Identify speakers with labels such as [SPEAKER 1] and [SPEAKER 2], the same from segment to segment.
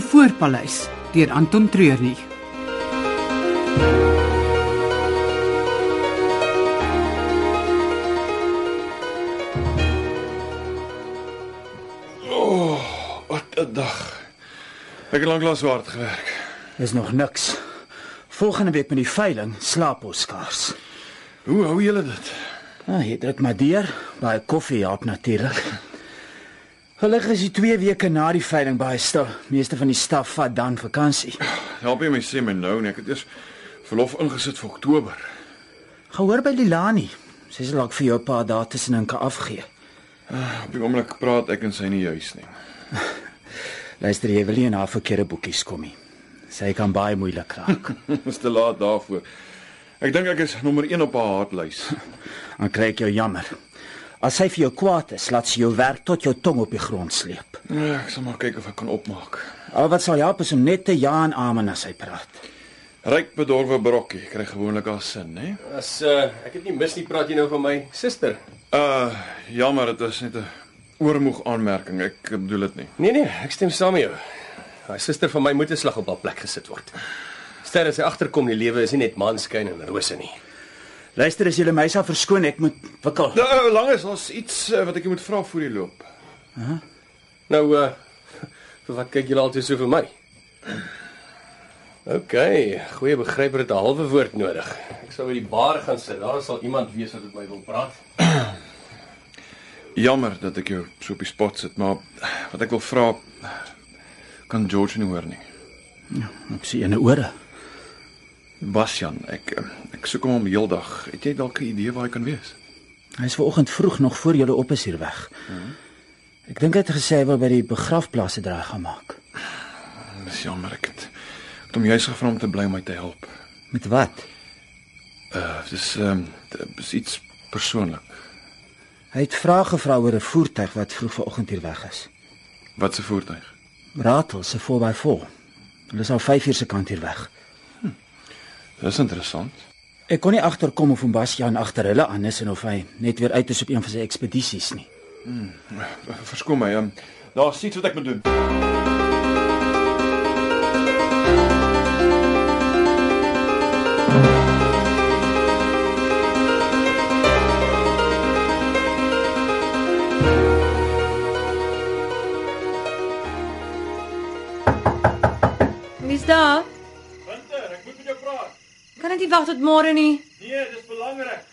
[SPEAKER 1] Spoorpaleis deur Anton Treurnig.
[SPEAKER 2] Wat 'n dag. Ek het lanklaas so hard gewerk.
[SPEAKER 3] Is nog niks. Volgende week met die veiling slaap ons skaars.
[SPEAKER 2] Hoe hou julle dit?
[SPEAKER 3] Ah, jy druk maar deur, baie koffie help natuurlik. Gelukkig is die 2 weke na die veiling baie stil. Meeste van die staf vat dan vakansie.
[SPEAKER 2] Help jy my sê my nou en ek het eers verlof ingesit vir Oktober.
[SPEAKER 3] Gehoor by Lilani. Sy sal dalk vir jou 'n paar dae tussenin kan afgee.
[SPEAKER 2] Op die oomblik praat ek en sy nie juis nie.
[SPEAKER 3] Luister, jy wil nie in haar verkeerde boekies kom nie. Sy kan baie moeilik raak.
[SPEAKER 2] Dis te laat daarvoor. Ek dink ek is nommer 1 op haar hartlys.
[SPEAKER 3] Dan kry ek jou jammer. As sy vir jou kwaad is, laat sy jou werk tot jou tong op die grond sleep.
[SPEAKER 2] Ja, Ek sal maar kyk of ek kan opmaak.
[SPEAKER 3] Al wat sal help is om net te ja en amen as sy praat.
[SPEAKER 2] Ryk bedorwe brokkie kry gewoonlik haar sin, hè?
[SPEAKER 4] As uh, ek het nie mis nie, praat jy nou van my suster?
[SPEAKER 2] Uh, jammer, dit is net 'n oormoeg aanmerking. Ek bedoel dit nie.
[SPEAKER 4] Nee nee, ek stem saam met jou. Haar suster van my moet 'n slag op haar plek gesit word. Ster as sy agterkom die lewe is nie net maanskyn en rose nie.
[SPEAKER 3] Luister, as jy my sal verskoon, ek moet wikkel.
[SPEAKER 2] Nou, lang is ons iets eh, wat ek jou moet vra voor jy loop.
[SPEAKER 4] Nou uh vir wat kyk julle altyd so vir my? OK, goeie begryper het 'n halwe woord nodig. Ek sal by die bar gaan sit. Daar sal iemand wees wat met my wil praat.
[SPEAKER 2] Jammer dat ek jou so op die spot sit, maar wat ek wil vra kan George nie hoor nie.
[SPEAKER 3] Op sy ene ore.
[SPEAKER 2] Basjan, ek eh, ek soek hom om heeldag. Het jy dalk 'n idee waar hy kan wees?
[SPEAKER 3] Hy is vanoggend vroeg nog voor julle op is hier weg. Ek dink hy het gesê hy wil by die begrafplaas 'n draai gaan maak.
[SPEAKER 2] Dis jammer ek het, ek het hom juis gevra om te bly om my te help.
[SPEAKER 3] Met wat?
[SPEAKER 2] Uh, dis ehm um, dis iets persoonlik.
[SPEAKER 3] Hy het vrae gevra oor 'n voertuig wat vroeg vanoggend hier weg is.
[SPEAKER 2] Wat se voertuig?
[SPEAKER 3] Ratel se 4x4. Hulle is al 5 uur se kant hier weg.
[SPEAKER 2] Dis interessant.
[SPEAKER 3] Ek kon nie agterkom of Ombastian agter hulle aan is en of hy net weer uit is op een van sy ekspedisies nie.
[SPEAKER 2] Verskoon my, ehm daar's iets wat ek moet doen.
[SPEAKER 5] Wie's daar? Winter, ek moet met jou praat. Kan ek nie wag tot môre nie?
[SPEAKER 2] Nee, dis belangrik.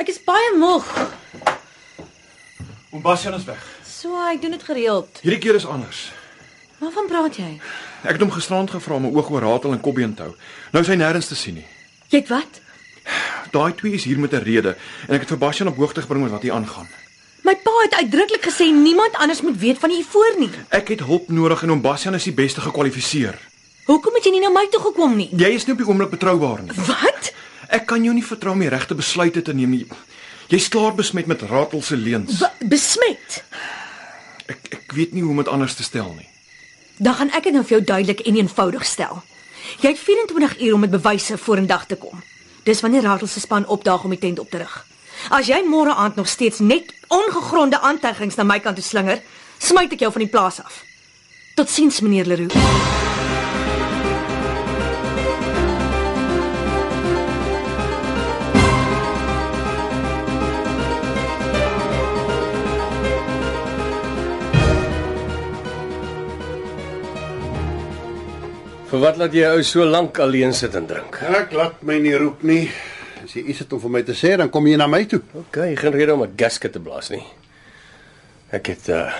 [SPEAKER 5] Ek is baie moeg.
[SPEAKER 2] Om Basjan is weg.
[SPEAKER 5] So, ek doen dit gereeld.
[SPEAKER 2] Hierdie keer is anders.
[SPEAKER 5] Waarvan praat jy?
[SPEAKER 2] Ek het hom gisterand gevra om 'n oog oor Ratel en Kobbie te hou. Nou is hy nêrens te sien nie.
[SPEAKER 5] Jy het wat?
[SPEAKER 2] Daai twee is hier met 'n rede en ek het vir Basjan op hoogte gebring met wat hier aangaan.
[SPEAKER 5] My pa het uitdruklik gesê niemand anders moet weet van hiervoor nie.
[SPEAKER 2] Ek het hulp nodig en om Basjan is die beste gekwalifiseer.
[SPEAKER 5] Hoekom het jy nie na my toe gekom nie?
[SPEAKER 2] Jy is nie op die oomblik betroubaar nie.
[SPEAKER 5] Wat?
[SPEAKER 2] Ek kan jou nie vertrou om die regte besluite te neem nie. Jy's klaar besmet met Ratel se leuns.
[SPEAKER 5] B besmet.
[SPEAKER 2] Ek ek weet nie hoe om dit anders te stel nie.
[SPEAKER 5] Dan gaan ek dit nou vir jou duidelik en eenvoudig stel. Jy het 24 uur om met bewyse vorendag te kom. Dis wanneer Ratel se span opdaag om die tent op te rig. As jy môre aand nog steeds net ongegronde aantuigings na my kant toe slinger, smyt ek jou van die plaas af. Totsiens meneer Leroux.
[SPEAKER 4] Vir wat laat jy jou so lank alleen sit en drink?
[SPEAKER 6] Ek laat my nie roep nie. As jy iets het om vir my te sê, dan kom jy na my toe.
[SPEAKER 4] OK, geen rede om 'n gasket te blaas nie. Ek het uh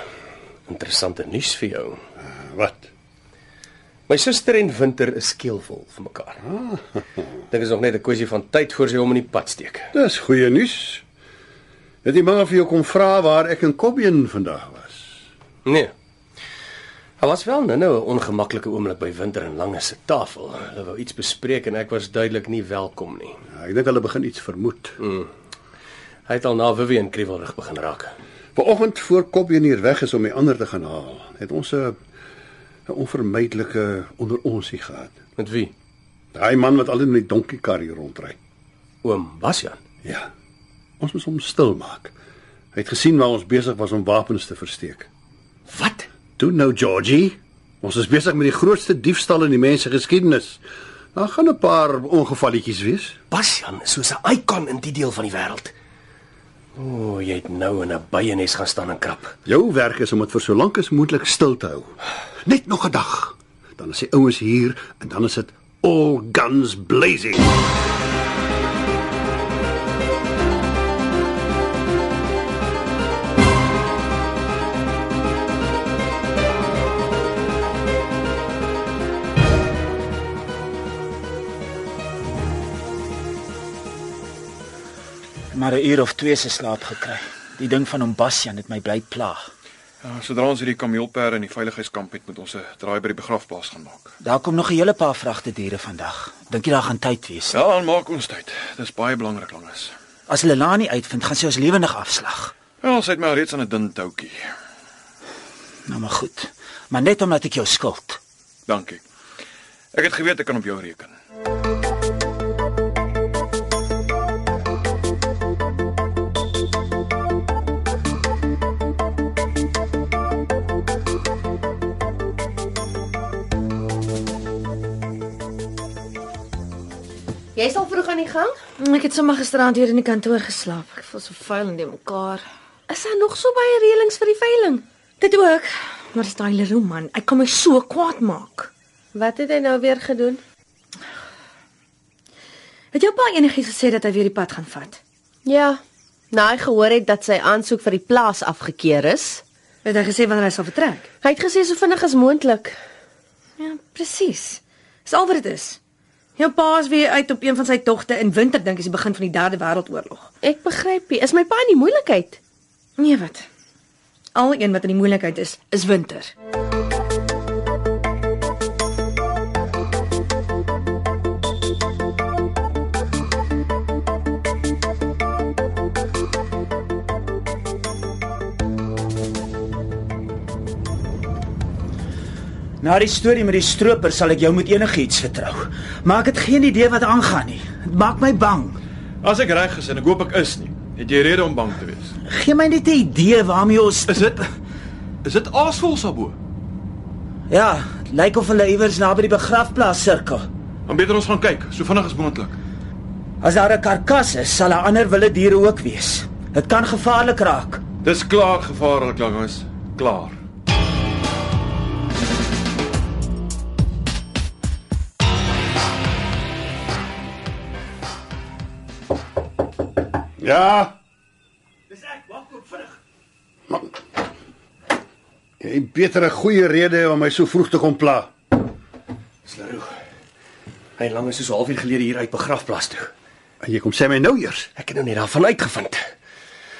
[SPEAKER 4] interessante nuus vir jou.
[SPEAKER 6] Wat?
[SPEAKER 4] My suster en Winter is skeelvol vir mekaar. Dink is nog net 'n kwessie van tyd voor sy hom in die pad steek.
[SPEAKER 6] Dis goeie nuus. Het die man vir jou kom vra waar ek in Kobbeen vandag was.
[SPEAKER 4] Nee. Daar was wel nou-nou 'n ongemaklike oomblik by Winter en Lange se tafel. Hulle wou iets bespreek en ek was duidelik nie welkom nie.
[SPEAKER 6] Ja, Ek dink hulle begin iets vermoed.
[SPEAKER 4] Hy het al na Vivian Kriewelrig begin raak.
[SPEAKER 6] Vanoggend voor Kobbeen hier weg is om die ander te gaan haal, het ons 'n 'n onvermydelike onder onsie gehad.
[SPEAKER 4] Met wie?
[SPEAKER 6] Daai man wat al in die donkiekar hier rondry.
[SPEAKER 4] Oom Basjan.
[SPEAKER 6] Ja. Ons moes hom stil maak. Hy het gesien waar ons besig was om wapens te versteek.
[SPEAKER 4] Wat?
[SPEAKER 6] Toe nou Georgie, Ons is besig met die grootste diefstal in die mens se geskiedenis. Daar gaan 'n paar ongevalletjies wees.
[SPEAKER 4] Basjan is soos 'n icon in die deel van die wêreld. O, jy het nou in 'n byenes gaan staan en krap.
[SPEAKER 6] Jou werk is om dit vir so lank as moontlik stil te hou. Net nog 'n dag. Dan is die ouens hier en dan is dit all guns blazing.
[SPEAKER 3] Maar 'n uur of twee se slaap gekry. Die ding van hom Basjan het my bly plaag.
[SPEAKER 2] Ja, sodra ons hierdie kameelperde in die veiligheidskamp het, moet ons 'n draai by die begrafplaas gaan maak.
[SPEAKER 3] Daar kom nog 'n hele paar vragte diere vandag. Dink jy daar gaan tyd wees?
[SPEAKER 2] Ja, dan maak ons tyd. Dis baie belangrik langes.
[SPEAKER 3] As hulle Lani uitvind, gaan sy ons lewendig afslag.
[SPEAKER 2] Ja, ons het my al reeds aan 'n dun toukie.
[SPEAKER 3] Nou maar goed. Maar net omdat ek jou skuld.
[SPEAKER 2] Dankie. Ek het geweet ek kan op jou reken.
[SPEAKER 7] Jy's al vroeg aan die gang?
[SPEAKER 5] Ek het sommer gisteraand hier in die kantoor geslaap. Ek voel so vuil en die mekaar.
[SPEAKER 7] Is daar nog so baie reëlings vir die veiling?
[SPEAKER 5] Dit ook. Maar dis daai Leroe man. Hy kan my so kwaad maak.
[SPEAKER 7] Wat het hy nou weer gedoen?
[SPEAKER 5] Het jou pa enigiets gesê dat hy weer die pad gaan vat?
[SPEAKER 7] Ja, na hy gehoor het dat sy aansoek vir die plaas afgekeur is.
[SPEAKER 5] Het hy gesê wanneer hy sal vertrek?
[SPEAKER 7] Hy het gesê so vinnig as moontlik.
[SPEAKER 5] Ja, presies. Dis al wat dit is. Jou pa is weer uit op een van sy togte in winter dink is die begin van die derde wêreldoorlog.
[SPEAKER 7] Ek begryp nie. Is my pa in die moeilikheid?
[SPEAKER 5] Nee wat? Al een wat in die moeilikheid is, is winter.
[SPEAKER 3] Na die storie met die stroper sal ek jou met enigiets vertrou. Maar ek het geen idee wat aangaan nie. Dit maak my bang.
[SPEAKER 2] As ek reg is en ek hoop ek is nie, het jy rede om bang te wees.
[SPEAKER 3] Geen my net 'n idee waarmee ons
[SPEAKER 2] Is dit Is dit aasvol sabo?
[SPEAKER 3] Ja, het lyk of hulle iewers naby die begrafplaas sirkel.
[SPEAKER 2] Dan beter ons gaan kyk, so vinnig as moontlik.
[SPEAKER 3] As daar 'n karkas is, sal daar ander wilde diere ook wees. Dit kan gevaarlik raak.
[SPEAKER 2] Dis klaar gevaarlik langes. Klaar.
[SPEAKER 6] Ja,
[SPEAKER 3] Dis ek, wag op vinnig.
[SPEAKER 6] jy het beter 'n goeie rede om my so vroeg te kom pla.
[SPEAKER 4] Sleroe. Hy lang is so 'n halfuur gelede hier uit begrafplaas toe.
[SPEAKER 6] En jy kom sê my nou eers.
[SPEAKER 4] Ek het nou net daarvan uitgevind.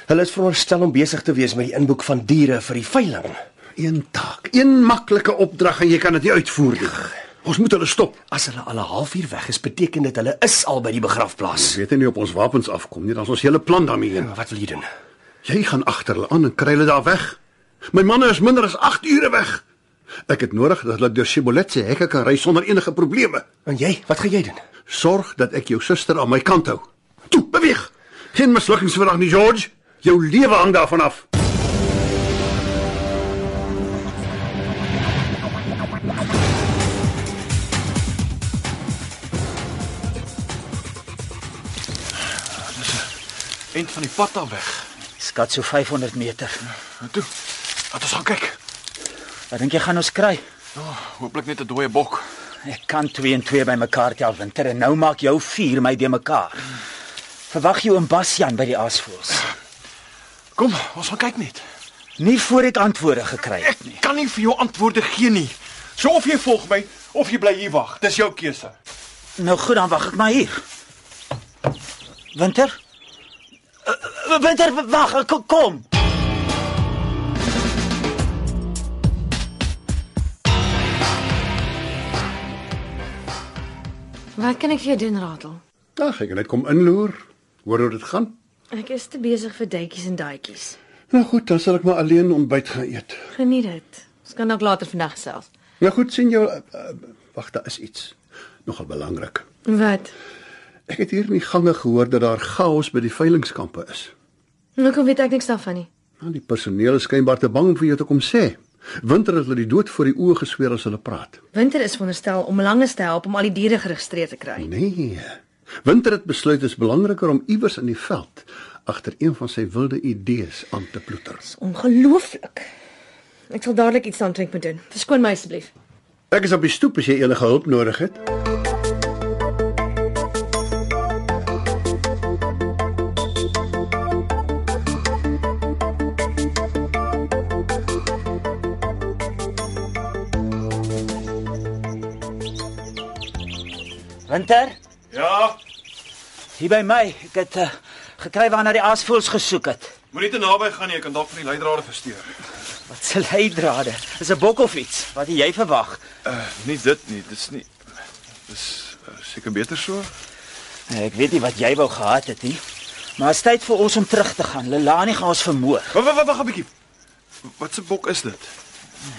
[SPEAKER 4] Hulle is veronderstel om besig te wees met die inboek van diere vir die veiling.
[SPEAKER 6] Een taak, een maklike opdrag en jy kan dit nie uitvoer nie.
[SPEAKER 3] Ja.
[SPEAKER 6] Ons moet hulle stop.
[SPEAKER 4] As hulle al 'n halfuur weg is, beteken dit hulle is al by die begrafplaas.
[SPEAKER 6] Ons weet nie op ons wapens afkom nie, dan is ons hele plan daarmee heen.
[SPEAKER 4] Maar wat wil jy doen?
[SPEAKER 6] Jy gaan agter hulle aan en kry hulle daar weg. My manne is minder as 8 ure weg. Ek het nodig dat hulle deur Shibboleth se hekke kan ry sonder enige probleme.
[SPEAKER 4] En jy, wat gaan jy doen?
[SPEAKER 6] Sorg dat ek jou suster aan my kant hou. Toe, beweeg. Geen mislukkings vandag nie, George. Jou lewe hang daarvan af.
[SPEAKER 2] Eind van die pad af weg.
[SPEAKER 3] Skat so 500 meter.
[SPEAKER 2] Nou toe. Laat ons gaan kyk.
[SPEAKER 3] Wat dink jy gaan ons kry?
[SPEAKER 2] Oh, hooplik net 'n dooie bok.
[SPEAKER 3] Ek kan 2 en 2 bymekaar tel winter en nou maak jou 4 my de mekaar. Verwag jou in Basjan by die aasvoëls.
[SPEAKER 2] Kom, ons gaan kyk net.
[SPEAKER 3] Nie voor ek antwoorde gekry het nie.
[SPEAKER 2] Kan nie vir jou antwoorde gee nie. So of jy volg my of jy bly hier wag. Dis jou keuse.
[SPEAKER 3] Nou goed, dan wag ek maar hier. Winter? Eh, eh, Winter, wag, eh, kom- kom.
[SPEAKER 5] Wat kan ek vir jou doen, Ratel?
[SPEAKER 6] Ag, ek kan net kom inloer. Hoor hoe dit gaan.
[SPEAKER 5] Ek is te besig vir duitjies en daadjies.
[SPEAKER 6] Nou goed, dan sal ek maar alleen ontbyt gaan eet.
[SPEAKER 5] Geniet dit.
[SPEAKER 7] Ons kan dalk later vandag gesels.
[SPEAKER 6] Nou goed, sien jou eh, eh, wag, daar is iets. Nogal belangrik.
[SPEAKER 5] Wat?
[SPEAKER 6] Ek het hier in die gange gehoor dat daar chaos by die veilingkampe is.
[SPEAKER 5] Hoekom weet ek niks daarvan nie?
[SPEAKER 6] Nou die personeel is skynbaar te bang om vir jou te kom sê. Winter het hulle die dood voor die oë gesweer as hulle praat.
[SPEAKER 5] Winter is veronderstel om langes te help om al die diere geregistreer te kry.
[SPEAKER 6] Nee. Winter het besluit dit is belangriker om iewers in die veld agter een van sy wilde idees aan te ploeter.
[SPEAKER 5] Dis ongelooflik. Ek sal dadelik iets aan drink moet doen. Verskoon my asseblief.
[SPEAKER 6] Ek is op die stoep as jy enige hulp nodig het.
[SPEAKER 3] Winter,
[SPEAKER 2] Ja,
[SPEAKER 3] hier by my, ek het uh, gekry waarna die aasvoëls gesoek het.
[SPEAKER 2] moenie te naby gaan nie, ek kan dalk van die leidrade versteur.
[SPEAKER 3] Wat se leidrade? Is 'n bok of iets? Wat het jy verwag?
[SPEAKER 2] Uh, nie dit nie, dis nie. Dis uh, seker beter so.
[SPEAKER 3] Nee, ek weet nie wat jy wou gehad het nie. Maar dit is tyd vir ons om terug te gaan. Lelani gaan ons vermoor.
[SPEAKER 2] Wag wag wag 'n bietjie. Wat 'n bok is dit?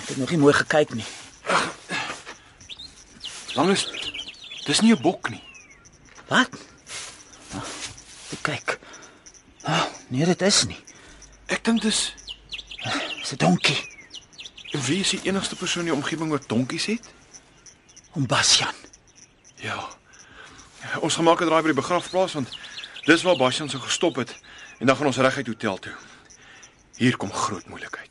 [SPEAKER 3] Ek het nog nie mooi gekyk nie.
[SPEAKER 2] Langes Dis nie 'n bok nie.
[SPEAKER 3] Wat? Ah, Ek kyk. Ah, nee, dit is nie.
[SPEAKER 2] Ek dink dis
[SPEAKER 3] Dis 'n donkie.
[SPEAKER 2] wie is die enigste persoon in die omgewing wat donkies het?
[SPEAKER 3] Om Basjan.
[SPEAKER 2] Ja. Ons gaan maak 'n draai by die begrafplaas want dis waar Bastian se gestop het en dan gaan ons reguit hotel toe. Hier kom groot moeilikheid.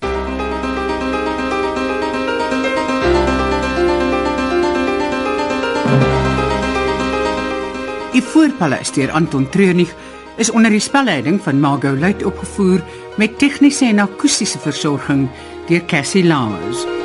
[SPEAKER 1] Die Voorpaleis deur Anton Treurnig is onder die spelleiding van Margot Luit opgevoer met tegniese en akoestiese versorging deur Cassie Lawrence.